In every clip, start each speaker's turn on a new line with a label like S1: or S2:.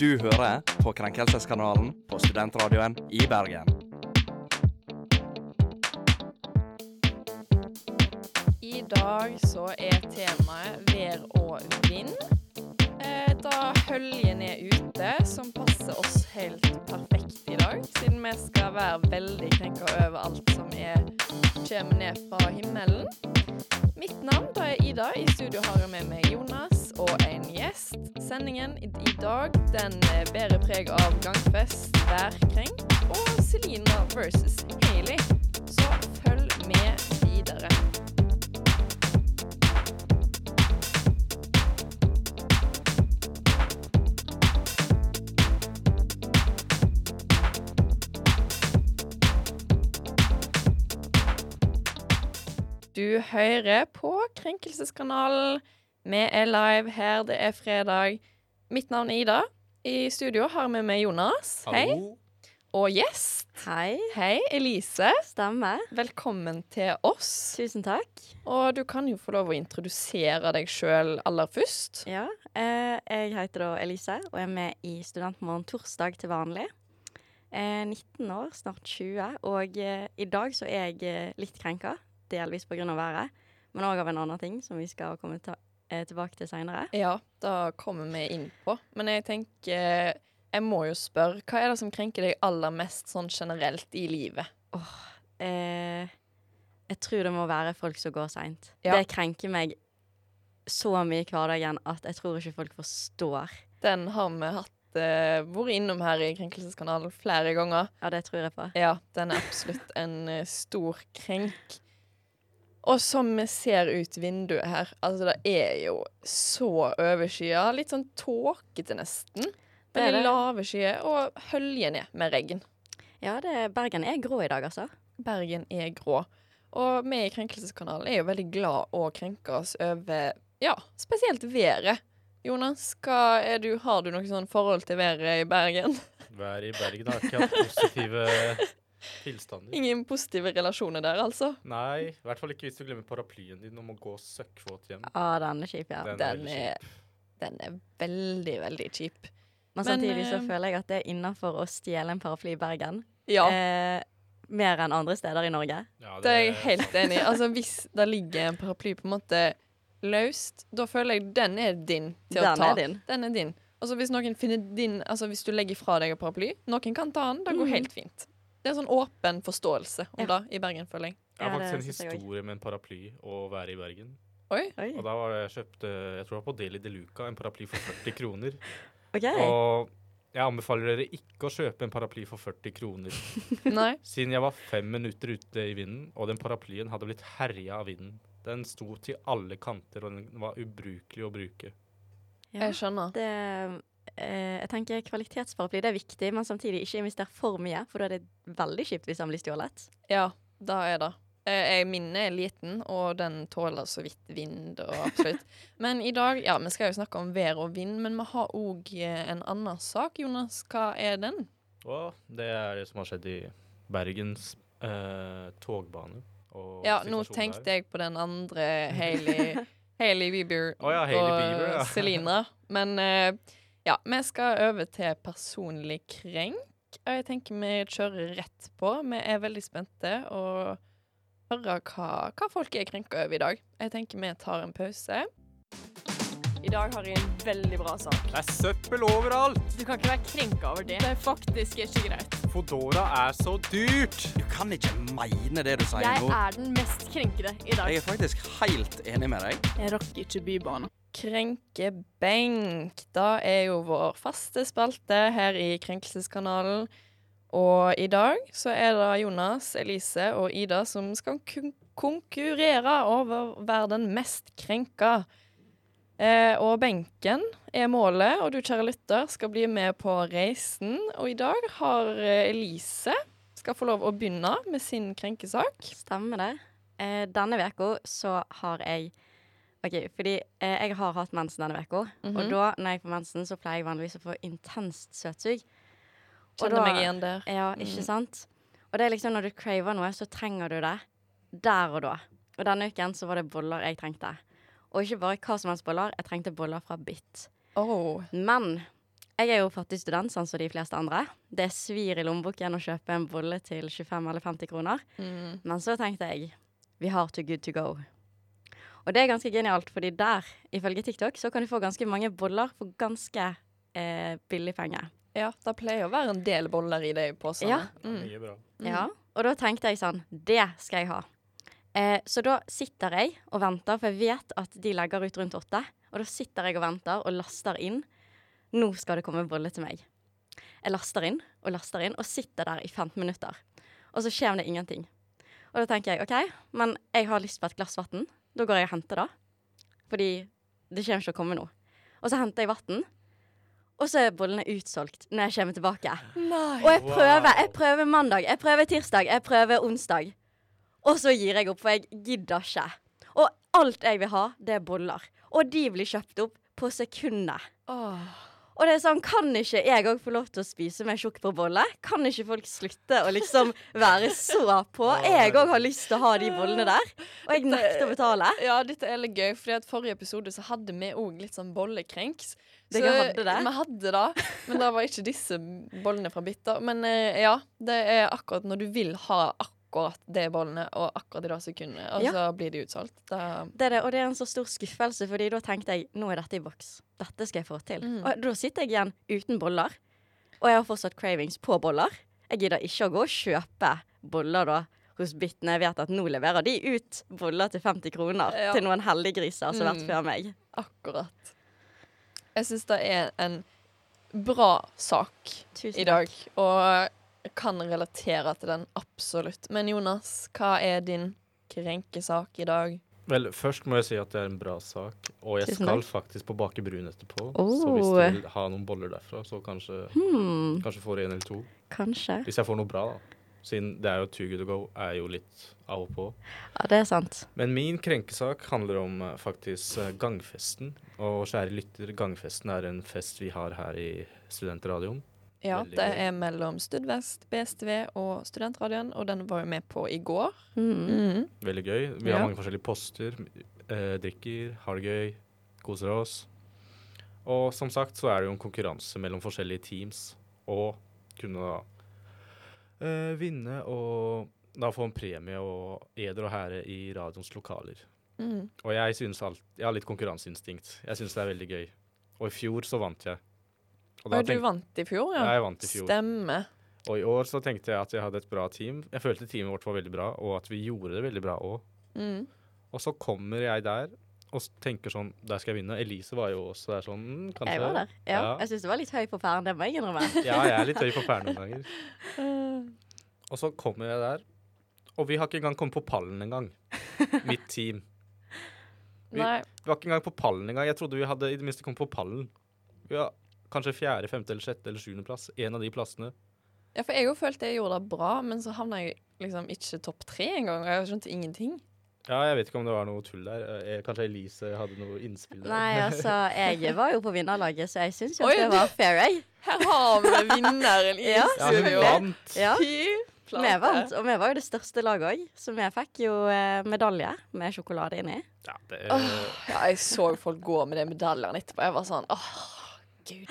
S1: Du hører på Krenkelseskanalen på Studentradioen i Bergen.
S2: I dag så er temaet vær og vind. Eh, Da høljen er ute, som passer oss helt perfekt i dag, siden vi skal være veldig krenka over alt som er, kommer ned fra himmelen. Mitt navn da er Ida. I studio har jeg med meg Jonas og en gjest. Sendingen i i dag den eh, bærer preg av gangfest, værkrenk og Selina versus Hailey. Så følg med videre. Du hører på Krenkelseskanalen. Vi er live her, det er fredag. Mitt navn er Ida. I studio har vi med Jonas. Hei. Og gjest.
S3: Hei,
S2: Hei, Elise.
S3: stemmer.
S2: Velkommen til oss.
S3: Tusen takk.
S2: Og du kan jo få lov å introdusere deg sjøl aller først.
S3: Ja, eh, jeg heter da Elise og er med i Studentmorgen torsdag til vanlig. Eh, 19 år, snart 20, og eh, i dag så er jeg eh, litt krenka, delvis pga. været, men òg av en annen ting som vi skal komme ta eh, tilbake til seinere.
S2: Ja, da kommer vi inn på. Men jeg tenker Jeg må jo spørre, hva er det som krenker deg aller mest sånn generelt i livet?
S3: Eh, jeg tror det må være folk som går seint.
S2: Ja.
S3: Det krenker meg så mye i hverdagen at jeg tror ikke folk forstår.
S2: Den har vi hatt eh, vært innom her i Krenkelseskanalen flere ganger.
S3: Ja, det tror jeg på.
S2: Ja, den er absolutt en eh, stor krenk. Og som vi ser ut vinduet her, altså det er jo så overskya. Litt sånn tåkete, nesten.
S3: Det er
S2: Veldig
S3: det.
S2: lave skyer, og høljer ned med regn.
S3: Ja, det, Bergen er grå i dag, altså.
S2: Bergen er grå. Og vi i Krenkelseskanalen er jo veldig glad å krenke oss over ja, spesielt været. Jonas, hva er du, har du noe sånn forhold til været i Bergen?
S4: Vær i Bergen har ikke hatt positive tilstander.
S2: Ingen positive relasjoner der, altså?
S4: Nei, i hvert fall ikke hvis du glemmer paraplyen din og må gå søkkvåt hjem.
S3: Ja, den er kjip, ja.
S4: Den
S2: Den
S4: er veldig
S2: er, den er veldig, veldig kjip.
S3: Men
S2: Men,
S3: samtidig så
S2: eh,
S3: føler jeg at det er innafor å stjele en paraply i Bergen.
S2: Ja,
S3: Eh, mer enn andre steder i Norge.
S4: Ja,
S2: det er jeg helt enig i. Altså, hvis det ligger en paraply på en måte løst, da føler jeg den er din til å
S3: Den
S2: ta.
S3: er din.
S2: Den er din. Altså, hvis noen finner din Altså, hvis du legger fra deg en paraply, noen kan ta den, det går
S3: Mhm.
S2: helt fint. Det er en sånn åpen forståelse om
S3: Ja.
S2: det i Bergen, føler jeg.
S4: Jeg
S3: Ja,
S4: har faktisk
S3: det
S4: en
S3: synes jeg også.
S4: historie med en paraply og være i Bergen.
S2: Oi.
S3: Oi.
S4: Og da var det jeg kjøpte jeg tror det var på Deli de Luca, en paraply for 40 kroner.
S3: OK.
S4: Og jeg anbefaler dere ikke å kjøpe en paraply for 40 kroner.
S2: Nei.
S4: Siden jeg var fem minutter ute i vinden, og den paraplyen hadde blitt herja av vinden. Den sto til alle kanter, og den var ubrukelig å bruke.
S3: Ja.
S2: Jeg skjønner.
S3: Det, eh, jeg tenker kvalitetsparaply det er viktig, men samtidig ikke invester for mye, for da er det veldig kjipt hvis den blir stjålet.
S2: Ja, det er det. Eh, Jeg, min er liten, og den tåler så vidt vind og absolutt. Men i dag, ja, vi skal jo snakke om vær og vind, men vi har òg en annen sak. Jonas, hva er den?
S4: Og det er det som har skjedd i Bergens eh, togbane. Og
S2: Ja, nå tenkte jeg på den andre Hailey, Hailey Bieber
S4: Å ja, Hailey Bieber, ja.
S2: og Selina. Men eh, ja, vi skal over til personlig krenk. Og jeg tenker vi kjører rett på. Vi er veldig spente og hører hva, hva folk er krenka over i dag. Jeg tenker vi tar en pause.
S5: I dag har jeg en veldig bra sak.
S4: Det er søppel overalt!
S5: Du kan ikke være krenka over det. Det er faktisk ikke greit.
S4: Fodora er så dyrt!
S1: Du kan ikke mene det du sier
S5: Jeg
S1: nå.
S5: er den mest krenkede i dag.
S1: Jeg er faktisk helt enig med deg.
S5: Jeg rakk ikke Bybanen.
S2: Krenkebenk. Da er jo vår faste spalte her i Krenkelseskanalen. Og i dag så er det Jonas, Elise og Ida som skal kun konkurrere over å være den mest krenka. Eh, og benken er målet, og du kjære lytter skal bli med på reisen. Og i dag har eh, Elise skal få lov å begynne med sin krenkesak.
S3: Stemmer det. Eh, denne veka så har jeg OK, fordi eh, jeg har hatt mensen denne veka, og
S2: Mhm.
S3: da når jeg får mensen, så pleier jeg vanligvis å få intenst søtsug. Og
S2: Kjenner
S3: da-
S2: meg igjen der.
S3: Ja, ikke
S2: Mm.
S3: sant? Og det er liksom når du craver noe, så trenger du det der og da. Og denne uken så var det boller jeg trengte. Og ikke bare hva som helst boller, jeg trengte boller fra Bitt.
S2: Oh.
S3: Men Jeg er jo fattig student, sånn som de fleste andre. Det svir i lommeboken å kjøpe en bolle til 25 eller 50 kroner.
S6: Mm.
S3: Men så tenkte jeg vi har Too Good To Go. Og det er ganske genialt, fordi der, ifølge TikTok, så kan du få ganske mange boller for ganske eh, billig penge.
S6: Ja, det pleier å være en del boller i de posene.
S3: Ja.
S6: Mm.
S4: Mye bra.
S6: Mm.
S3: Ja, og da tenkte jeg sånn, det skal jeg ha. Eh, så da sitter jeg og venter, for jeg vet at de legger ut rundt åtte. Og da sitter jeg og venter og laster inn. Nå skal det komme bolle til meg. Jeg laster inn og laster inn og sitter der i 15 minutter. Og så skjer det ingenting. Og da tenker jeg OK, men jeg har lyst på et glass vann. Da går jeg og henter det. Fordi det kommer ikke til å komme noe. Og så henter jeg vann, og så er bollene utsolgt når jeg kommer tilbake. Og
S6: Nei.
S3: jeg prøver.
S4: Wow.
S3: Jeg prøver mandag, jeg prøver tirsdag, jeg prøver onsdag. Og så gir jeg opp, for jeg gidder ikke. Og alt jeg vil ha, det er boller. Og de blir kjøpt opp på sekundet.
S6: Åh.
S3: Og det er sånn, kan ikke jeg òg få lov til å spise meg tjukk på bolle? Kan ikke folk slutte å liksom være så på? Jeg òg har lyst til å ha de bollene der. Og jeg nekter å betale.
S2: Ja, dette er litt gøy, fordi at forrige episode så hadde vi òg litt sånn bollekrenks.
S3: Dere
S2: Så
S3: hadde det?
S2: Vi hadde det, men det var ikke disse bollene fra Bitta. Men eh, ja, det er akkurat når du vil ha akkurat de bollene, og akkurat i det sekundet, og
S3: Ja.
S2: så blir de utsolgt. Det,
S3: Det er det, og det er en så stor skuffelse, fordi da tenkte jeg nå er dette i boks. Dette skal jeg få til.
S2: Mm.
S3: Og da sitter jeg igjen uten boller, og jeg har fortsatt cravings på boller. Jeg gidder ikke å gå og kjøpe boller da hos Bitten. Jeg vet at nå leverer de ut boller til 50 kroner
S2: Ja.
S3: til noen heldiggriser som har vært
S2: Mm.
S3: før meg.
S2: akkurat. Jeg syns det er en bra sak
S3: Tusen
S2: i dag, og kan relatere til den absolutt. Men Jonas, hva er din krenkesak i dag?
S4: Vel, først må jeg si at det er en bra sak, og jeg
S3: Tusen
S4: skal faktisk på Bake Brun etterpå. Så
S3: Oh.
S4: hvis du vil ha noen boller derfra, så kanskje,
S3: Hmm,
S4: kanskje får jeg en eller to.
S3: kanskje.
S4: Hvis jeg får noe bra, da. Siden det er jo Too Good To Go, er jo litt av og på.
S3: Ja, det er sant.
S4: Men min krenkesak handler om eh, faktisk eh, gangfesten. Og kjære lytter, gangfesten er en fest vi har her i studentradioen.
S2: Ja,
S4: Veldig
S2: det
S4: gøy.
S2: er mellom Studvest, BSTV og Studentradioen, og den var jo med på i går.
S3: Hmm.
S2: Mm.
S4: Veldig gøy. Vi har
S2: Ja.
S4: mange forskjellige poster. eh, drikker, har det gøy, koser oss. Og som sagt så er det jo en konkurranse mellom forskjellige teams. Og kunne da eh, vinne og da få en premie og eder og herre i radioens lokaler.
S2: Mm.
S4: Og jeg synes alt Jeg har litt konkurranseinstinkt. Jeg syns det er veldig gøy. Og i fjor så vant jeg. Og da
S2: Og du
S4: tenkte-
S2: vant i fjor, ja.
S4: Ja, jeg vant i fjor.
S2: Stemme.
S4: Og i år så tenkte jeg at jeg hadde et bra team. Jeg følte teamet vårt var veldig bra, og at vi gjorde det veldig bra òg.
S2: Mm.
S4: Og så kommer jeg der og s- tenker sånn Der skal jeg vinne. Elise var jo også der sånn mm, Kanskje.
S3: Jeg var der. Ja.
S4: Ja.
S3: Jeg syns det var litt høy på pæren, det må jeg innrømme.
S4: ja, jeg er litt høy på pæren noen ganger. Og så kommer jeg der, og vi har ikke engang kommet på pallen engang. Mitt team. Vi-
S2: Nei,
S4: Vi var ikke engang på pallen engang. Jeg trodde vi hadde i det minste kommet på pallen. Vi var kanskje fjerde, femte eller sjette eller sjuende plass. En av de plassene.
S2: ja, for jeg jo følte jeg gjorde det bra, men så havna jeg liksom ikke topp tre engang. og Jeg skjønte ingenting.
S4: Ja, jeg vet ikke om det var noe tull der. Eh, Kanskje Elise hadde noe innspill der.
S3: Nei, altså, jeg var jo på vinnerlaget, så jeg syns jo
S2: Oi,
S3: at det
S2: du-
S3: var fair, jeg.
S2: Her har vi vinneren i
S3: Ja,
S4: ja, hun
S2: studio.
S4: vant.
S3: Ja.
S2: Fy flate.
S3: Vi vant, og vi var jo det største laget òg, så vi fikk jo eh, medalje med sjokolade inni.
S4: Ja, det, eh,
S2: Ja, jeg så folk gå med de medaljene etterpå. Jeg var sånn åh, gud.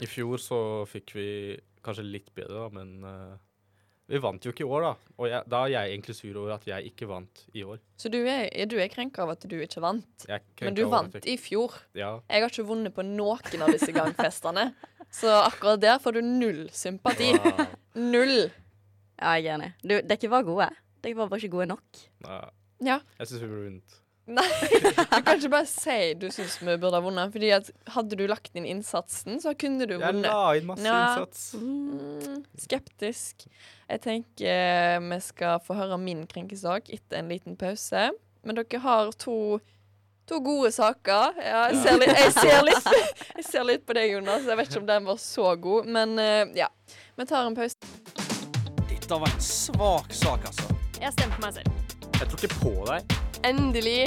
S4: I fjor så fikk vi kanskje litt bedre, da, men eh, vi vant jo ikke i år, da. Og jeg, da er jeg egentlig sur over at jeg ikke vant i år.
S2: Så du er, du er krenka av at du ikke vant.
S4: Jeg
S2: Men
S4: krenker
S2: du
S4: over at
S2: vant
S4: jeg,
S2: i fjor.
S4: Ja,
S2: Jeg har ikke vunnet på noen av disse gangfestene. Så akkurat der får du null sympati.
S4: wow.
S2: Null.
S3: Ja, jeg er enig. Du, dere var gode. Dere var bare ikke gode nok.
S4: Nei,
S2: Ja.
S4: jeg syns vi burde vunnet.
S2: Nei, du kan ikke bare si du syns vi burde ha vunnet. Fordi at hadde du lagt inn innsatsen, så kunne du
S4: Jeg
S2: vunnet.
S4: la inn masse
S2: Ja.
S4: innsats.
S2: Mm, skeptisk. Jeg tenker eh, vi skal få høre min krenkesak etter en liten pause. Men dere har to, to gode saker. Ja, jeg, ser litt, jeg, ser litt, jeg ser litt på deg, Jonas. Jeg vet ikke om den var så god, men eh, ja. Vi tar en pause.
S1: Dette har vært svak sak, altså.
S7: Jeg stemmer på meg selv.
S4: Jeg tror ikke på deg.
S7: Endelig.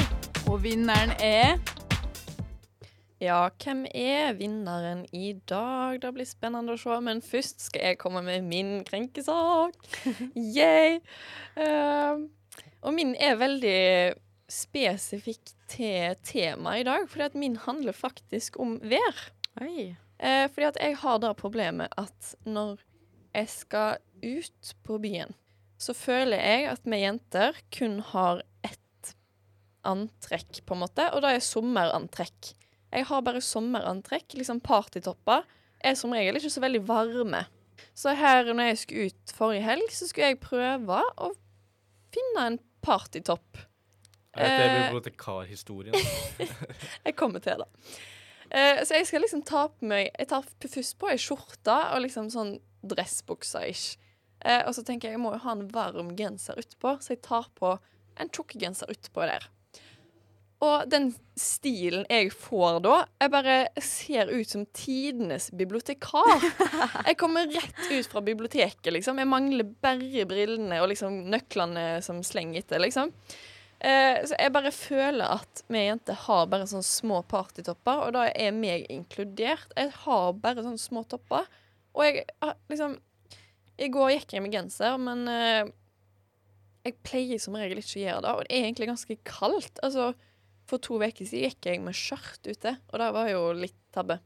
S7: Og vinneren er
S2: Ja, hvem er vinneren i dag? Det blir spennende å se, men først skal jeg komme med min krenkesak. Yay! Ehm, og min er veldig spesifikk til temaet i dag, fordi at min handler faktisk om vær.
S3: Oi.
S2: Eh, fordi at jeg har det problemet at når jeg skal ut på byen, så føler jeg at vi jenter kun har ett antrekk, på en måte, og det er sommerantrekk. Jeg har bare sommerantrekk. Liksom partytopper er som regel ikke så veldig varme. Så her når jeg skulle ut forrige helg, så skulle jeg prøve å finne en partytopp.
S4: Etter
S2: Eh.
S4: bibliotekarhistorien.
S2: Jeg kommer til det. Eh, så jeg skal liksom ta på meg Jeg tar f- først på ei skjorte og liksom sånn dressbuksa-ish. Eh, og så tenker jeg jeg må jo ha en varm genser utpå, så jeg tar på en tjukk genser utpå der. Og den stilen jeg får da Jeg bare ser ut som tidenes bibliotekar. Jeg kommer rett ut fra biblioteket, liksom. Jeg mangler bare brillene og liksom nøklene som slenger etter, liksom. Eh, så jeg bare føler at vi jenter har bare sånne små partytopper, og da er meg inkludert. Jeg har bare sånne små topper. Og jeg har liksom I går gikk jeg med genser, men eh, jeg pleier som regel ikke å gjøre det, og det er egentlig ganske kaldt. Altså, for to uker siden gikk jeg med skjørt ute, og det var jo litt tabbe.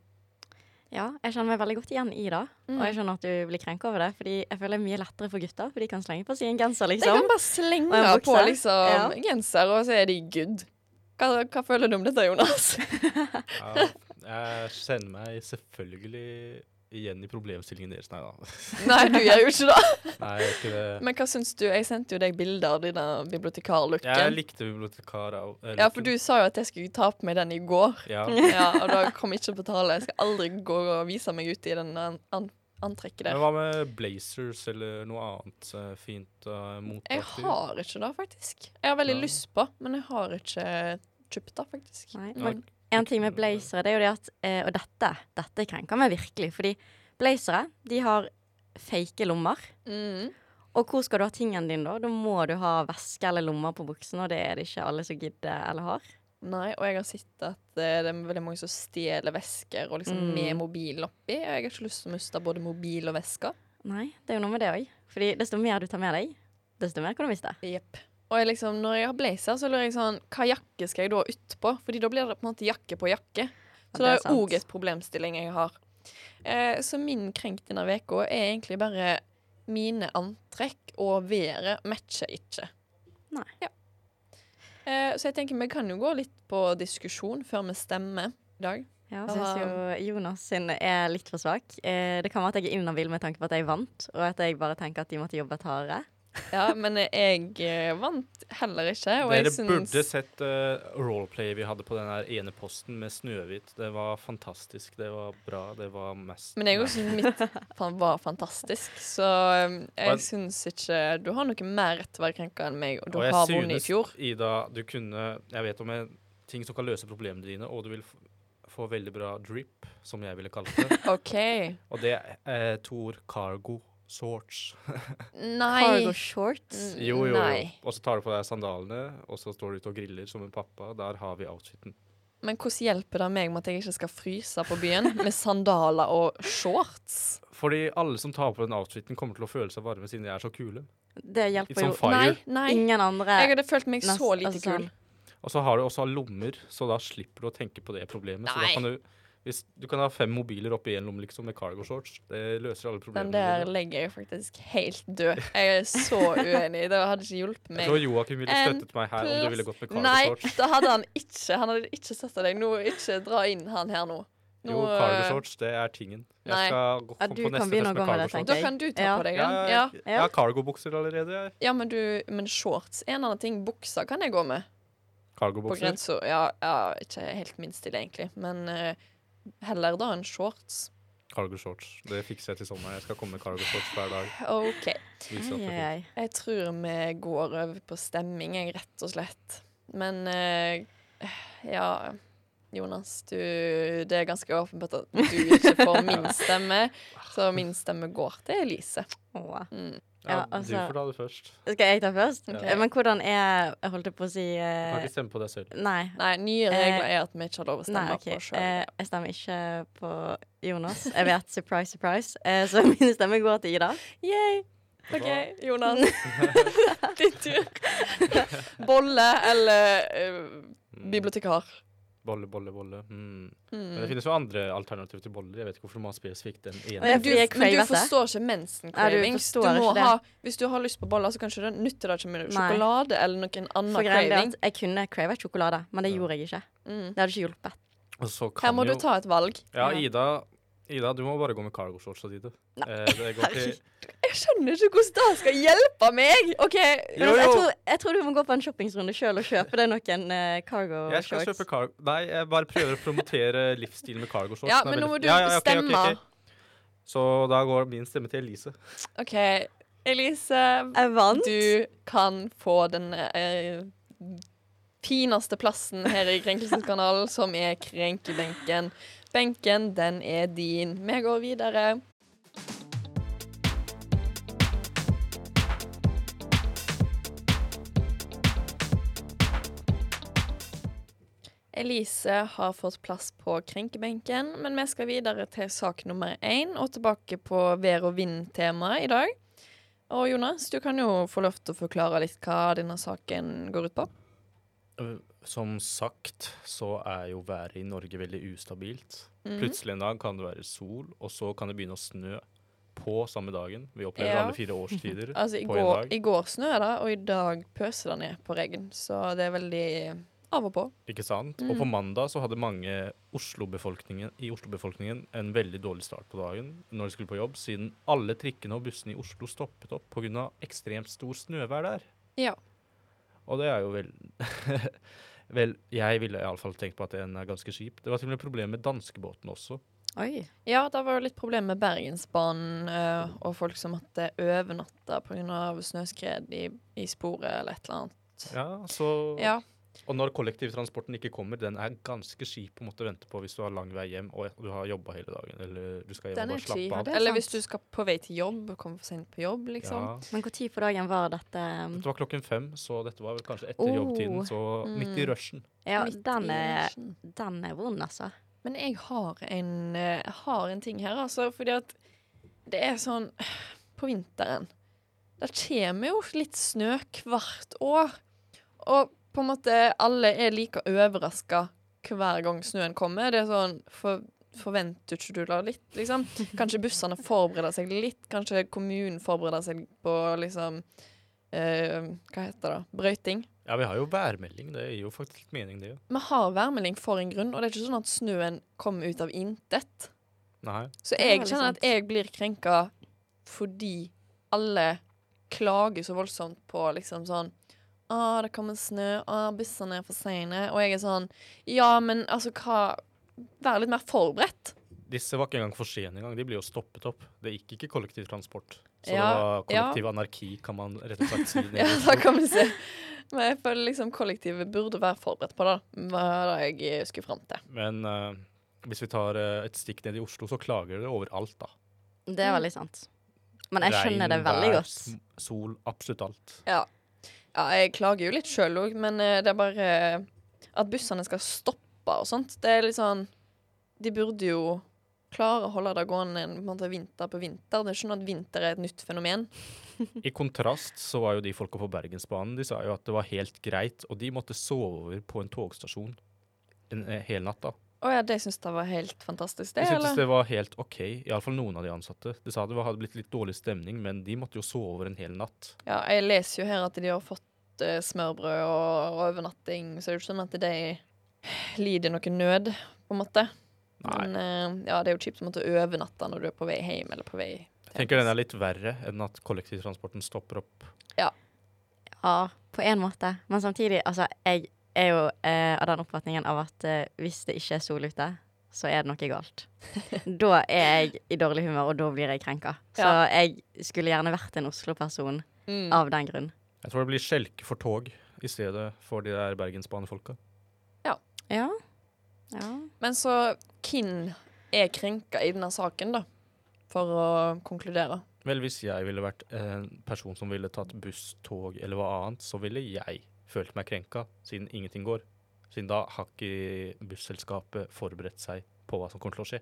S3: Ja, jeg kjenner meg veldig godt igjen i det.
S2: Mm.
S3: Og jeg skjønner at du blir krenka over det, fordi jeg føler det er mye lettere for gutter. For de kan slenge på seg en genser,
S2: De kan
S3: liksom.
S2: bare
S3: Og en
S2: slenge
S3: bukse.
S2: på liksom,
S3: Ja.
S2: genser, og så er de good. Hva, hva føler du om dette, Jonas?
S4: Ja, jeg kjenner meg selvfølgelig igjen i problemstillingen deres. Nei da.
S2: Nei, du gjør jo ikke det.
S4: Nei, jeg gjør ikke det.
S2: Men hva syns du? Jeg sendte jo deg bilder av denne
S4: Jeg
S2: bibliotekarlooken.
S4: likte bibliotekar. av- eh,
S2: Ja, for
S4: looken.
S2: du sa jo at jeg skulle ta på meg den i går.
S4: Ja,
S2: Ja, Og da kom ikke på tale. Jeg skal aldri gå og vise meg ut i den an an antrekket der.
S4: Men hva med blazers eller noe annet eh, fint uh,
S2: Jeg
S4: moteaktig?
S2: har ikke det, faktisk. Jeg har veldig
S4: Ja.
S2: lyst på, men jeg har ikke kjøpt det, faktisk.
S3: Nei,
S4: Ja,
S3: men En ting med blazere, det er jo det at eh, Og dette, dette krenker meg virkelig. Fordi blazere, de har fake lommer.
S2: Mm.
S3: Og hvor skal du ha tingen din da? Da må du ha veske eller lommer på buksen, og det er det ikke alle som gidder eller har.
S2: Nei, og jeg har sett at eh, det er veldig mange som stjeler vesker og liksom
S3: Mm.
S2: med mobilen oppi. Og jeg har ikke lyst til å miste både mobil og veska.
S3: Nei, det er jo noe med det òg. Fordi desto mer du tar med deg, desto mer kan du miste.
S2: Jepp. Og jeg liksom, når jeg har blazer, så lurer jeg sånn Hva jakke skal jeg da utpå? Fordi da blir det på en måte jakke på jakke. Så
S3: Ja,
S2: det
S3: det er
S2: er òg
S3: sant.
S2: et problemstilling jeg har. Eh, så min krenk denne veka er egentlig bare mine antrekk og været matcher ikke.
S3: Nei.
S2: Ja. Eh, så jeg tenker vi kan jo gå litt på diskusjon før vi stemmer i dag.
S3: Ja,
S2: Ja.
S3: jeg syns jo Jonas sin er litt for svak. Eh, det kan være at jeg er inhabil med tanke på at jeg vant, og at jeg bare tenker at de måtte jobbet hardere.
S2: Ja, men jeg eh, vant heller ikke, og
S4: Dere
S2: jeg
S4: burde
S2: syns
S4: sett eh, roleplay vi hadde på den her ene posten med Snøhvit. Det var fantastisk. Det var bra. Det var mest
S2: men jeg
S4: Nei.
S2: også mitt fan- var fantastisk, så um,
S4: Men-
S2: jeg syns ikke Du har noe mer rett til å være krenka enn meg, og du
S4: Og jeg
S2: har vunnet i
S4: synes,
S2: fjor.
S4: Ida, du kunne Jeg vet om en ting som kan løse problemene dine, og du vil f få veldig bra drip, som jeg ville kalt det.
S2: OK.
S4: Og det eh, er to ord. Cargo shorts.
S2: Nei.
S3: Cargo shorts.
S2: Mm,
S4: Jo, jo, jo.
S2: Nei.
S4: Og så tar du på deg sandalene, og så står du ute og griller som en pappa. Der har vi outfiten.
S2: Men hvordan hjelper det meg med at jeg ikke skal fryse på byen med sandaler og shorts?
S4: Fordi alle som tar på den outfiten, kommer til å føle seg varme siden de er så kule.
S3: Det
S4: Litt
S3: hjelper
S4: sånn
S3: jo
S4: fire.
S2: Nei, nei.
S3: ingen andre.
S2: Jeg hadde følt meg
S3: Nest-
S2: så lite
S3: altså
S2: kul.
S3: sånn.
S4: Og så har du også lommer, så da slipper du å tenke på det problemet. Så da
S2: Nei.
S4: kan du, hvis, du kan ha fem mobiler oppi én lomme liksom, med cargo shorts. Det løser alle
S2: Den
S4: problemene.
S2: der
S4: dine.
S2: legger jeg faktisk helt død. Jeg er så uenig. Det hadde ikke hjulpet
S4: Jeg
S2: meg.
S4: tror Joakim ville
S2: En
S4: støttet meg her om du ville gått med cargo
S2: Nei,
S4: shorts.
S2: det hadde han ikke. Han hadde ikke støtta deg. Nå, ikke dra inn han her nå. nå
S4: Jo,
S2: eh,
S4: cargo shorts, det er tingen.
S2: nei.
S4: Jeg skal gå,
S3: Ja,
S4: komme
S3: du
S4: på
S3: kan
S4: neste
S3: begynne å
S4: fest med
S3: gå med
S4: cargo
S3: det,
S4: shorts.
S2: Da
S3: tenker jeg.
S2: kan du ta
S3: Ja.
S2: på deg
S4: Ja,
S2: den.
S4: jeg,
S2: Ja.
S4: jeg har cargobukser allerede, jeg.
S2: ja, men du Men shorts er en annen ting. Buksa kan jeg gå med. På
S4: Cargobukser.
S2: grensa. Ja, ja, ikke helt min stil, egentlig. Men eh, heller da enn shorts.
S4: Cargo shorts. Det fikser jeg til sommeren. Jeg skal komme med cargo shorts hver dag.
S2: OK.
S3: Ai, ai,
S4: Vise at det er fint.
S3: ai.
S2: Jeg tror vi går over på stemming, jeg, rett og slett. Men eh, ja Jonas, du, det er ganske åpenbart at du ikke får min stemme, så min stemme går til Elise.
S3: Åh.
S2: Mm.
S4: Ja,
S3: Ja,
S4: du
S3: altså-
S4: får ta det først.
S3: Skal jeg ta først?
S2: Ok.
S3: Eh, Men hvordan er Jeg holdt på å si
S4: Du kan
S3: eh,
S4: ikke stemme på deg selv.
S3: Nei.
S2: Nei, nye regler er at vi ikke har lov å stemme
S3: Eh, Nei, ok.
S2: på oss sjøl.
S3: Eh, jeg stemmer ikke på Jonas. Jeg vet, surprise, surprise. Eh, så min stemme går til Ida.
S2: Yay! OK, Jonas.
S4: Mm.
S2: Din tur. Bolle eller eh, bibliotekar?
S4: Bolle, bolle, bolle.
S3: Hmm.
S4: Mm. Men det
S2: Mm.
S4: finnes jo andre alternativer til boller. Jeg vet ikke hvorfor man spesifikt den
S3: Og jeg
S4: ene.
S2: Men du,
S3: fordi
S2: men
S3: jeg
S2: du
S3: cravet det.
S2: forstår ikke mensen-cravings.
S3: forstår
S2: Du må
S3: ikke det.
S2: ha, hvis du har lyst på boller, så kan ikke du nytte det ikke med sjokolade eller noen annen
S3: For greien er
S2: craving.
S3: at Jeg kunne crava sjokolade, men det
S4: Ja.
S3: gjorde jeg ikke.
S2: Mm.
S3: Det hadde ikke hjulpet.
S4: Og så kan
S2: Her må
S4: jo,
S2: du ta et valg.
S4: Ja, Ida, Ida, du må bare gå med cargoshorts og dine. Eh, det går til
S2: Jeg skjønner ikke hvordan det skal hjelpe meg! OK.
S4: Jo,
S3: Men altså, Jeg,
S4: jo.
S3: tror, jeg tror du må gå på en shoppingsrunde sjøl og kjøpe deg noen eh, cargo
S4: Jeg skal
S3: shorts.
S4: kjøpe cargo... Nei, jeg bare prøver å promotere livsstil med cargoshorts.
S2: Ja,
S4: Den er
S2: men nå må
S4: veldig-
S2: du
S4: Ja, ja, ok, ok,
S2: stemme.
S4: ok. Så da går min stemme til Elise.
S2: OK. Elise,
S3: Jeg vant.
S2: du kan få den eh, fineste plassen her i Krenkelseskanalen, som er krenkebenken. Benken, den er din. Vi går videre. Elise har fått plass på krenkebenken, men vi skal videre til sak nummer én og tilbake på vær- og vind-temaet i dag. Og Jonas, du kan jo få lov til å forklare litt hva denne saken går ut på.
S4: Uh, Som sagt så er jo været i Norge veldig ustabilt.
S2: Mhm.
S4: Plutselig en dag kan det være sol, og så kan det begynne å snø på samme dagen. Vi opplever
S2: Ja.
S4: alle fire årstider
S2: Altså, i
S4: på en
S2: går,
S4: dag.
S2: i går snø det, og i dag pøser det ned på regn, så det er veldig av og på.
S4: Ikke sant?
S2: Mm.
S4: Og på mandag så hadde mange Oslo-befolkningen, i Oslo-befolkningen en veldig dårlig start på dagen når de skulle på jobb, siden alle trikkene og bussene i Oslo stoppet opp pga. ekstremt stor snøvær der.
S2: Ja.
S4: Og det er jo vel Vel, jeg ville iallfall tenkt på at den er ganske kjip. Det var til og med problemer med danskebåten også.
S3: Oi.
S2: Ja, det var jo litt problem med Bergensbanen eh, og folk som måtte overnatte pga. snøskred i, i sporet eller et eller annet.
S4: Ja, så
S2: Ja.
S4: Og når kollektivtransporten ikke kommer, den er ganske kjip å måtte vente på hvis du har lang vei hjem og du har jobba hele dagen. Eller du skal hjem
S2: Den er
S4: og bare slappe
S2: kjip.
S4: av.
S3: det er
S2: Eller
S3: sant.
S2: hvis du skal på vei til jobb, komme for sent på jobb, liksom.
S4: Ja.
S3: Men når på dagen var dette?
S4: Det var klokken fem, så dette var vel kanskje etter
S3: Oh. Mm.
S4: jobbtiden. Så midt i rushen.
S3: Ja,
S2: Midt
S3: den
S2: i
S3: er,
S2: rushen.
S3: den er vond, altså.
S2: Men jeg har en, eh, har en ting her, altså. Fordi at det er sånn På vinteren Det kommer jo litt snø hvert år. Og på en måte alle er like overraska hver gang snøen kommer. Det er sånn for, Forventer ikke du det litt, liksom? Kanskje bussene forbereder seg litt. Kanskje kommunen forbereder seg på liksom eh, Hva heter det? Brøyting.
S4: Ja, vi har jo værmelding. Det gir jo faktisk litt mening, det.
S2: Vi har værmelding for en grunn, og det er ikke sånn at snøen kommer ut av intet.
S4: Nei.
S2: Så
S3: er
S2: jeg
S3: veldig
S2: kjenner at
S3: sant.
S2: jeg blir krenka fordi alle klager så voldsomt på liksom sånn Å, det kommer snø. Å, bussene er for seine. Og jeg er sånn Ja, men altså, hva Vær litt mer forberedt.
S4: Disse var ikke engang for sene engang. De ble jo stoppet opp. Det gikk ikke kollektivtransport. Så det
S2: Ja,
S4: var kollektiv anarki, kan man rett og slett
S2: Ja,
S4: si. nede i
S2: da
S4: Oslo.
S2: kan vi se. Men jeg føler liksom kollektivet burde være forberedt på det. Hva er det jeg skulle fram til?
S4: Men eh, hvis vi tar eh, et stikk ned i Oslo, så klager det overalt, da.
S3: Det er veldig sant. Men jeg skjønner det veldig
S4: vær,
S3: godt.
S4: sm- Sol, absolutt alt.
S2: Ja, jeg klager jo litt sjøl òg, men eh, det er bare eh, At bussene skal stoppe og sånt, det er litt sånn De burde jo klare å holde det gående en på en måte, vinter på vinter. Det er ikke sånn at vinter er et nytt fenomen.
S4: I kontrast så var jo de folka på Bergensbanen, de sa jo at det var helt greit, og de måtte sove over på en togstasjon en eh, hel natt, da.
S2: Å ja, de syns det var helt fantastisk, det,
S4: De syntes
S2: eller?
S4: det var helt OK, iallfall noen av de ansatte. De sa det var, hadde blitt litt dårlig stemning, men de måtte jo sove over en hel natt.
S2: Ja, jeg leser jo her at de har fått eh, smørbrød og, og overnatting, så det er jo ikke sånn at de lider noe nød, på en måte.
S4: Nei.
S2: Men eh, ja, det er jo kjipt å måtte overnatte når du er på vei hjem eller på vei
S4: Jeg tenker den er litt verre enn at kollektivtransporten stopper opp.
S3: Ja, på en måte. Men samtidig, altså, jeg er jo eh, av den oppfatningen av at eh, hvis det ikke er sol ute, så er det noe galt. da er jeg i dårlig humør, og da blir jeg krenka. Så
S2: Ja.
S3: jeg skulle gjerne vært en Oslo-person
S2: Mm.
S3: av den grunn.
S4: Jeg tror det blir skjelke for tog i stedet for de der bergensbanefolka.
S3: Ja. ja.
S2: Men så hvem er krenka i denne saken, da? For å konkludere.
S4: Vel, hvis jeg ville vært en person som ville tatt buss, tog eller hva annet, så ville jeg følt meg krenka, siden ingenting går. Siden da har ikke busselskapet forberedt seg på hva som kommer til å skje.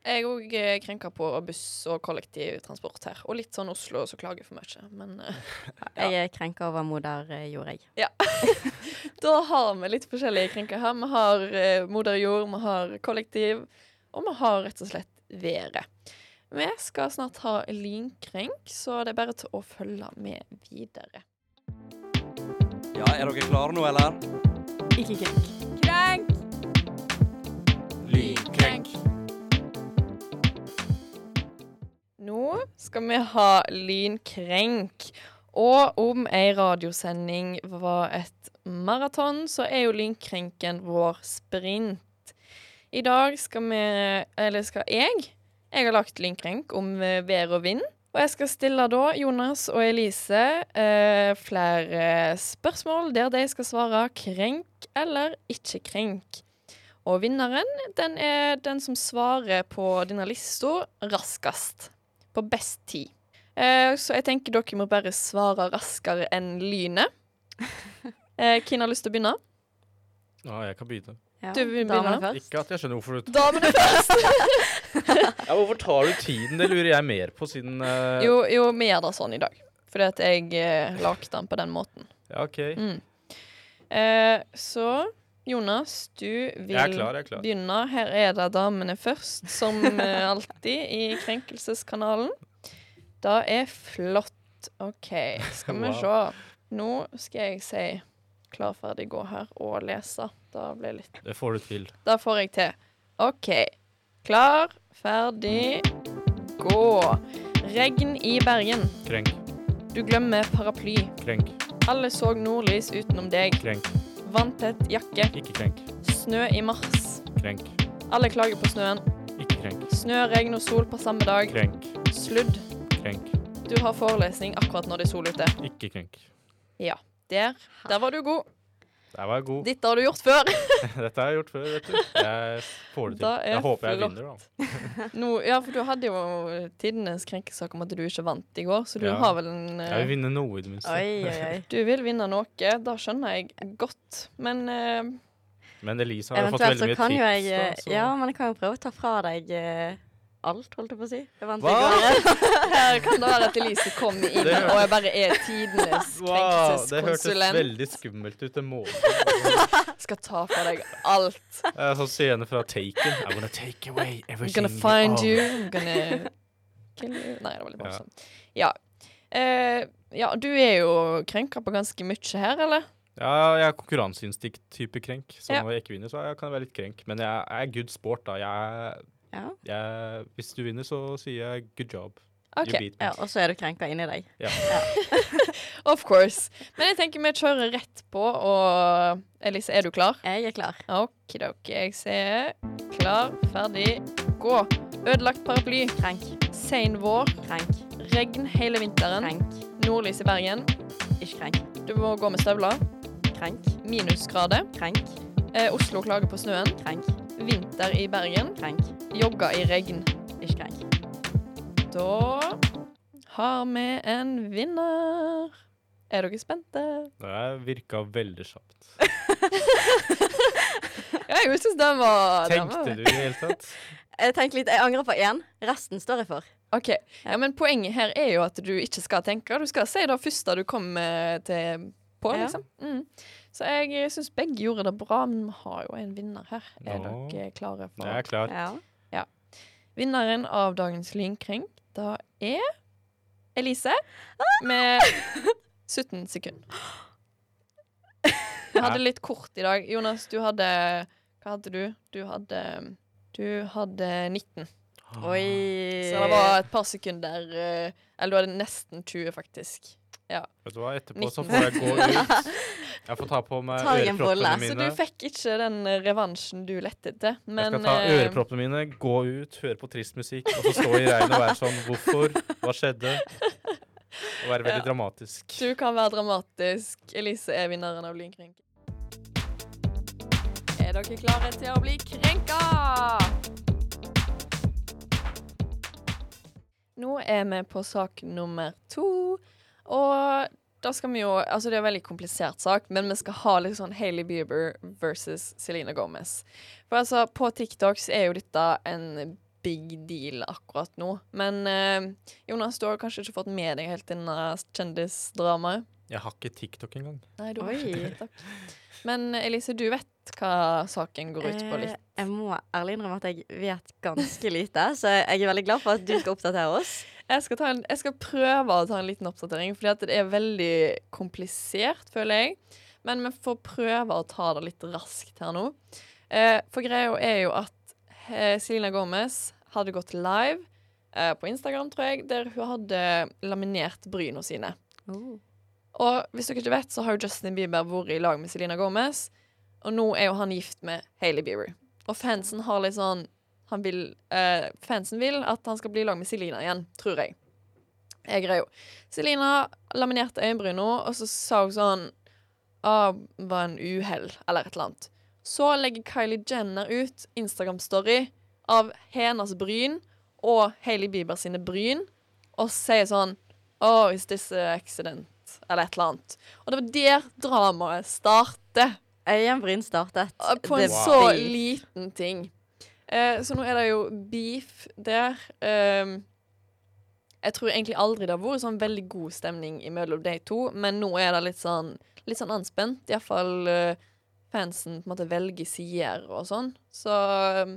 S2: Jeg òg krenka på buss og kollektivtransport her. Og litt sånn Oslo som klager for mye. Men eh,
S3: Jeg er krenka over moder eh, jord, jeg.
S2: Da har vi litt forskjellige krenker her. Vi har eh, moder jord, vi har kollektiv, og vi har rett og slett været. Vi skal snart ha lynkrenk, så det er bare til å følge med videre.
S1: Ja, er dere klare nå, eller?
S7: Ikke krenk.
S6: Krenk!
S1: Lynkrenk.
S2: Nå skal vi ha lynkrenk. Og om ei radiosending var et maraton, så er jo lynkrenken vår sprint. I dag skal vi, eller skal jeg, jeg har lagt lynkrenk om eh, vær og vind. Og jeg skal stille da Jonas og Elise eh, flere spørsmål der de skal svare krenk eller ikke krenk. Og vinneren, den er den som svarer på denne lista raskest. På best tid. Eh, så jeg tenker dere må bare svare raskere enn lynet. Eh, hvem har lyst til å begynne?
S4: Ja, jeg kan begynne.
S3: Ja,
S2: Du vil
S3: damene
S2: begynne?
S3: først.
S4: Ikke at jeg skjønner hvorfor du
S2: Damene først!
S4: ja, Hvorfor tar du tiden? Det lurer jeg mer på, siden eh,
S2: Jo, jo, vi gjør det sånn i dag. Fordi at jeg eh, lagde den på den måten.
S4: Ja, OK.
S2: Mm. Eh, så Jonas, du vil
S4: Jeg er klar, jeg er klar.
S2: begynne. Her er det damene først, som eh, alltid i Krenkelseskanalen. Det er flott. OK, skal vi
S4: Wow.
S2: se. Nå skal jeg si klar, ferdig, gå her og lese. Da blir litt
S4: Det får du til.
S2: da får jeg til. OK. Klar, ferdig, gå. Regn i Bergen.
S4: Krenk,
S2: Du glemmer paraply.
S4: krenk,
S2: Alle så nordlys utenom deg.
S4: krenk.
S2: Vanntett jakke.
S4: Ikke krenk,
S2: Snø i mars.
S4: krenk.
S2: Alle klager på snøen.
S4: Ikke krenk,
S2: Snø, regn og sol på samme dag.
S4: krenk,
S2: Sludd.
S4: krenk.
S2: Du har forelesning akkurat når det er sol ute.
S4: Ikke krenk.
S2: Der. Der var du god.
S4: Der var jeg god.
S2: Dette har du gjort før.
S4: Dette har jeg gjort før, vet du. Jeg får det til.
S2: Da er
S4: Jeg håper jeg
S2: flott.
S4: vinner, da.
S2: Nå, ja, for du hadde jo tidenes krenkesak om at du ikke vant i går, så du
S4: Ja.
S2: har vel en
S4: Jeg
S2: eh,
S4: vil vinne noe, i det minste.
S3: Oi, oi, oi.
S2: Du vil vinne noe, det skjønner jeg godt. Men eh,
S4: Men Elisa har jo fått
S3: Eventuelt så
S4: veldig mye
S3: kan jo jeg eh,
S4: tips. altså. da, så-
S3: Ja, men jeg kan jo prøve å ta fra deg eh, alt, holdt jeg på å si. Jeg vant i går.
S4: Hva?
S2: her kan det være at Elise kom inn
S4: Det hørtes-
S2: og jeg bare er tidenes
S4: Wow, det hørtes
S2: krenkelseskonsulent.
S4: veldig skummelt ut. Det må
S2: Skal ta fra deg alt.
S4: Jeg er sånn scene fra Taken. I'm gonna take away
S2: I'm
S4: everything
S2: gonna find
S4: own.
S2: you. I'm gonna kill you. Nei, det var litt
S4: Ja.
S2: morsomt. Ja. Eh, ja, du er jo krenka på ganske mye her, eller?
S4: Ja, jeg er konkurranseinstinkt-type krenk. Så
S2: Ja.
S4: når jeg ikke vinner, så er jeg- kan jeg være litt krenk. Men jeg, jeg er good sport, da. Jeg,
S3: Ja.
S4: jeg, hvis du vinner, så sier jeg good job.
S2: OK.
S4: You beat me.
S3: Ja, og så er du krenka inni deg.
S2: Of course. Men jeg tenker vi kjører rett på, og Elise, er du klar?
S3: Jeg er klar.
S2: Okidoki, jeg ser klar, ferdig, gå. Ødelagt paraply,
S3: Krenk,
S2: sein vår,
S3: krenk,
S2: regn hele vinteren,
S3: krenk.
S2: nordlys i Bergen,
S3: Ikke krenk.
S2: du må gå med støvler,
S3: Krenk,
S2: minusgrader,
S3: krenk,
S2: eh, Oslo klager på snøen,
S3: krenk,
S2: vinter i Bergen,
S3: krenk.
S2: jogga i regn.
S3: Ikke krenk.
S2: Da har vi en vinner. Er dere spente?
S4: Det virka veldig kjapt.
S2: Ja, jeg syns den var den var-
S4: Tenkte du i det hele tatt?
S3: Jeg tenker litt, jeg angrer på én. Resten står jeg for.
S2: OK. Ja, men poenget her er jo at du ikke skal tenke. Du skal si det første du kommer til på,
S3: Ja.
S2: liksom. Mm. Så jeg syns begge gjorde det bra, men vi har jo en vinner her. Er
S4: Ja.
S2: dere klare for
S4: Jeg er klar.
S3: Ja.
S2: Vinneren av dagens lynkrenk, da er Elise med 17 sekunder. Jeg hadde litt kort i dag. Jonas, du hadde Hva hadde du? Du hadde Du hadde 19.
S3: Oi.
S2: Så det var et par sekunder eh, Eller du hadde nesten 20, faktisk.
S4: Vet du hva, etterpå
S2: 19.
S4: så får jeg gå ut. Jeg får ta på meg
S3: Ta deg en bolle.
S2: Så
S4: øreproppene
S2: du
S4: mine.
S2: fikk ikke den eh, revansjen du lette etter. Men
S4: jeg skal ta
S2: eh,
S4: øreproppene mine, gå ut, høre på trist musikk, og så stå i regnet og være sånn Hvorfor? Hva skjedde? Og være veldig dramatisk.
S2: du kan være dramatisk. Elise er vinneren av Lynkrenk.
S7: Er dere klare til å bli krenka?
S2: Nå er vi på sak nummer to. Og da skal vi jo Altså, det er en veldig komplisert sak, men vi skal ha litt sånn Hailey Bieber versus Selena Gomez. For altså, på TikTok så er jo dette en big deal akkurat nå. Men eh, Jonas, du har kanskje ikke fått med deg helt denne kjendisdramaet?
S4: Jeg har ikke TikTok engang.
S2: Nei, du har
S3: Oi.
S2: ikke TikTok. Men Elise, du vet hva saken går ut på
S3: Eh,
S2: litt?
S3: Jeg må ærlig innrømme at jeg vet ganske lite, så jeg er veldig glad for at du skal oppdatere oss.
S2: Jeg skal, ta en, jeg skal prøve å ta en liten oppdatering, fordi at det er veldig komplisert, føler jeg. Men vi får prøve å ta det litt raskt her nå. Eh, for greia er jo at eh, Selena Gomez hadde gått live eh, på Instagram, tror jeg, der hun hadde laminert bryna sine.
S3: Oh.
S2: Og hvis dere ikke vet, så har jo Justin Bieber vært i lag med Selena Gomez. Og nå er jo han gift med Hailey Bieber. Og fansen har litt sånn han vil, eh, Fansen vil at han skal bli i lag med Selena igjen, tror jeg. Jeg greier jo. Selena laminerte øyenbryna, og så sa hun sånn ah, var en uhell, eller et eller annet. Så legger Kylie Jenner ut Instagram-story av hennes bryn og Hailey Bieber sine bryn, og sier sånn Oh, is this an accident? Eller et eller annet. Og det var der dramaet starter.
S3: Øyenbryn startet.
S2: På en
S3: Det
S2: så
S3: blir-
S2: liten ting. Eh, så nå er det jo beef der. Ehm, jeg tror egentlig aldri det har vært sånn veldig god stemning mellom de to, men nå er det litt sånn, litt sånn anspent. Iallfall uh, fansen på en måte velger sider og sånn. Så ehm,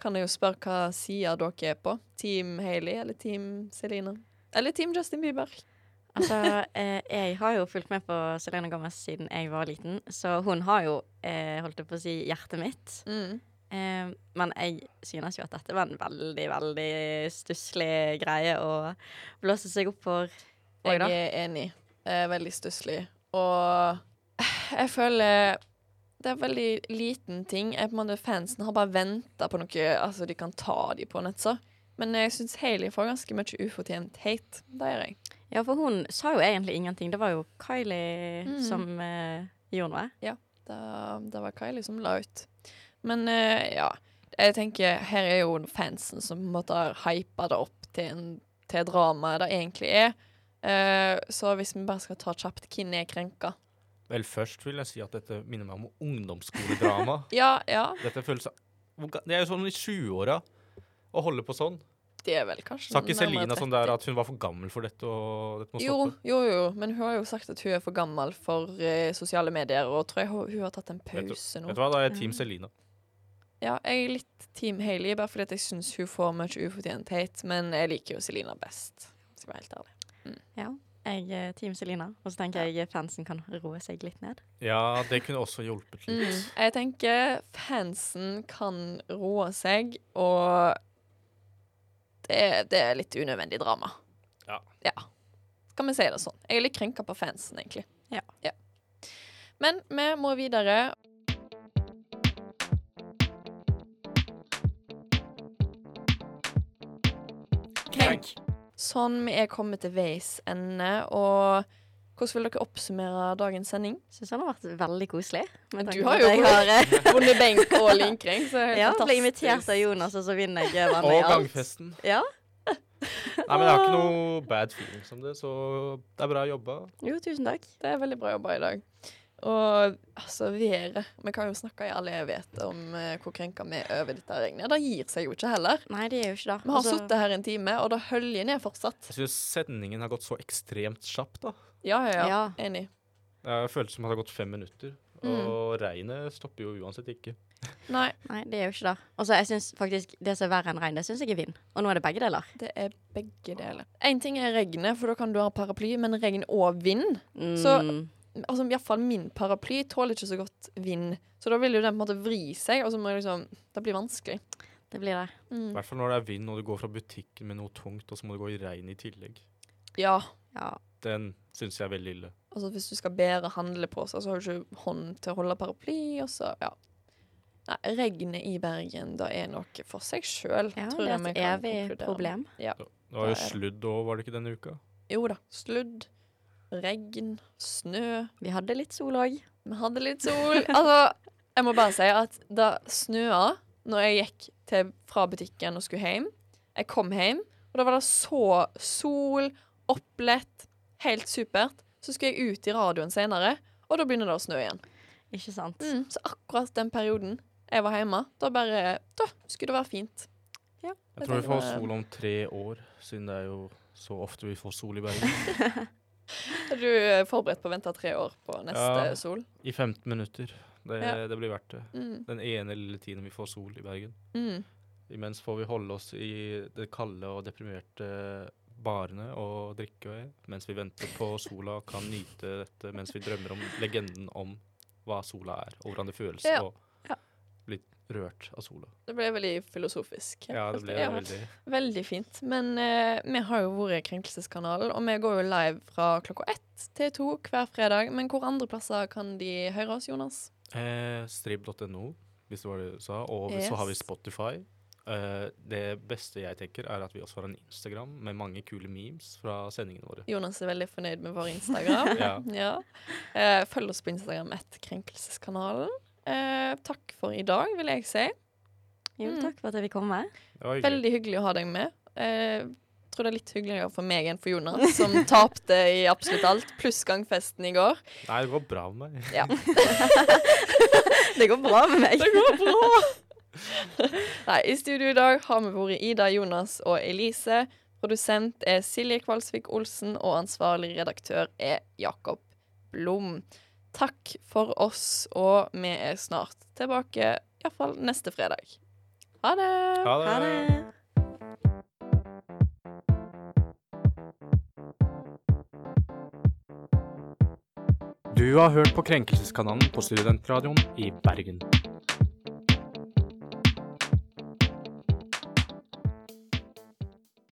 S2: kan jeg jo spørre hva sida dere er på. Team Hailey eller Team Selina? Eller Team Justin Bieber?
S3: Altså, eh, jeg har jo fulgt med på Selena Gomez siden jeg var liten, så hun har jo, eh, holdt jeg på å si, hjertet mitt.
S2: Mm.
S3: Eh, men jeg synes jo at dette var en veldig, veldig stusslig greie å blåse seg opp for. eh, Oi
S2: Jeg
S3: da.
S2: er enig. Jeg er veldig stusslig. Og jeg føler det er veldig liten ting. Jeg, på en måte, fansen har bare venta på noe altså, de kan ta de på nettet. Men jeg syns Hailey får ganske mye ufortjent hate. Det gjør jeg.
S3: Ja, for hun sa jo egentlig ingenting. Det var jo Kylie
S2: Mm.
S3: som eh, gjorde noe.
S2: Da, da var Kylie som la ut. Men eh, ja, jeg tenker her er jo fansen som på en måte har hypa det opp til, en, til dramaet det egentlig er. Eh, så hvis vi bare skal ta kjapt hvem er krenka?
S4: Vel, først vil jeg si at dette minner meg om ungdomsskoledrama.
S2: Ja, ja,
S4: Dette føles Hvor ga- Det er jo sånn i 20-åra å holde på sånn.
S2: det er vel kanskje
S4: Sa ikke
S2: nærmere
S4: Selina
S2: 30.
S4: sånn der at hun var for gammel for dette, og dette må
S2: Jo,
S4: stoppe?
S2: jo, jo, men hun har jo sagt at hun er for gammel for eh, sosiale medier, og tror jeg hun, hun har tatt en pause nå. Mm.
S4: Vet du hva, da er jeg Team Selina.
S2: Ja, jeg er litt Team Hailey, bare fordi at jeg syns hun får mye ufortjent hate, men jeg liker jo Selina best. Skal være helt ærlig.
S3: Jeg er Team Selina, og så tenker jeg eh, fansen kan roe seg litt ned.
S4: Ja, det kunne også hjulpet litt.
S2: Mm. Jeg tenker fansen kan roe seg, og det, det er litt unødvendig drama.
S4: Ja.
S2: Skal vi si det sånn. Jeg er litt krenka på fansen, egentlig.
S3: Ja.
S2: Men vi må videre.
S7: Krenk.
S2: Sånn, vi er kommet til veis ende, og hvordan vil dere oppsummere dagens sending?
S3: Syns han har vært veldig koselig. med
S2: Du
S3: tanke på
S2: har
S3: at
S2: jo
S3: jeg har, eh,
S2: Bonde benk og linkring, så er det
S3: ja,
S2: helt
S3: ble
S2: fantastisk.
S3: invitert av Jonas, og så vinner jeg vannet i
S4: Og
S3: alt.
S4: gangfesten.
S3: Ja.
S4: Nei, men jeg har ikke noe bad feelings om det, så det er bra jobba.
S3: Jo, tusen takk.
S2: Det er veldig bra jobba i dag. Og altså, været Vi kan jo snakke i all evighet om eh, hvor krenka vi er over dette regnet. Det gir seg jo ikke heller.
S3: Nei, det er jo ikke det.
S2: Vi har
S3: Altså,
S2: sittet her en time, og det høljer ned fortsatt.
S4: Jeg syns sendingen har gått så ekstremt kjapt, da.
S2: Ja, ja, ja.
S3: Ja.
S2: Enig.
S4: Jeg følte som at det har gått fem minutter.
S2: Mm.
S4: Og regnet stopper jo uansett ikke.
S2: Nei,
S3: Nei, det er jo ikke det. Og så jeg synes faktisk det som er verre enn regn, det syns jeg er vind. Og nå er det begge deler.
S2: det er begge deler. Én ting er regnet, for da kan du ha paraply, men regn og vind
S3: Mm.
S2: Så- Altså i hvert fall min paraply tåler ikke så godt vind. Så da vil jo den på en måte vri seg, og så må jeg liksom Det blir vanskelig.
S3: det blir det.
S4: I
S2: Mm.
S4: hvert fall når det er vind, og du går fra butikken med noe tungt, og så må du gå i regn i tillegg.
S2: Ja.
S3: Ja.
S4: Den syns jeg er veldig ille.
S2: Altså Hvis du skal bære handleposer, så har du ikke hånd til å holde paraply. Og så, ja. Nei, regnet i Bergen, det er noe for seg sjøl.
S3: ja det er et evig problem.
S4: Det var jo
S2: Det er-
S4: sludd òg, var det ikke denne uka?
S2: Jo da. Sludd, regn, snø.
S3: Vi hadde litt sol òg.
S2: Vi hadde litt sol. Altså, jeg må bare si at det snøa når jeg gikk til, fra butikken og skulle hjem. Jeg kom hjem, og da var det så sol, opplett, helt supert. Så skulle jeg ut i radioen senere, og da begynner det å snø igjen.
S3: Ikke sant?
S2: Mm, så akkurat den perioden jeg var hjemme, da bare Da skulle det være fint.
S4: Jeg tror vi
S2: tenker
S4: får
S2: det-
S4: sol om tre år, siden det er jo så ofte vi får sol i Bergen.
S2: Er du eh, forberedt på å vente tre år på neste
S4: Ja.
S2: sol?
S4: I 15 minutter. Det,
S2: Ja.
S4: det blir verdt det.
S2: Mm.
S4: Den ene lille tiden vi får sol i Bergen.
S2: Mm.
S4: Imens får vi holde oss i det kalde og deprimerte barene og drikke mens vi venter på sola og kan nyte dette mens vi drømmer om legenden om hva sola er, og hvordan det føles
S2: Ja.
S4: å
S2: Ja.
S4: bli rørt av sola.
S2: Det ble veldig filosofisk.
S4: Ja, det ble
S2: Ja.
S4: veldig
S2: Veldig fint. Men eh, vi har jo vært Krenkelseskanalen, og vi går jo live fra klokka ett til to hver fredag. Men hvor andre plasser kan de høre oss, Jonas?
S4: Eh, Strib.no, hvis det var det du sa. Og så har vi
S2: Yes.
S4: Spotify. Eh, det beste jeg tenker, er at vi også har en Instagram med mange kule memes fra sendingene våre.
S2: Jonas er veldig fornøyd med vår Instagram.
S4: Ja.
S2: ja. Eh, følg oss på Instagram ett Krenkelseskanalen. Eh, takk for i dag, vil jeg si.
S3: Jo,
S2: Mm.
S3: takk for at eh. jeg fikk komme.
S4: Det var hyggelig.
S2: Veldig hyggelig å ha deg med. Eh, tror det er litt hyggeligere for meg enn for Jonas, som tapte i absolutt alt, pluss gangfesten i går.
S4: Nei, det går bra med meg.
S3: Det går bra med meg.
S2: Det går bra! Nei, I studio i dag har vi vært Ida, Jonas og Elise. Produsent er Silje Kvalsvik Olsen, og ansvarlig redaktør er Jakob Blom. Takk for oss, og vi er snart tilbake, iallfall neste fredag. Ha det!
S3: Ha det.
S4: Du har hørt på Krenkelseskanalen på Studentradioen i Bergen.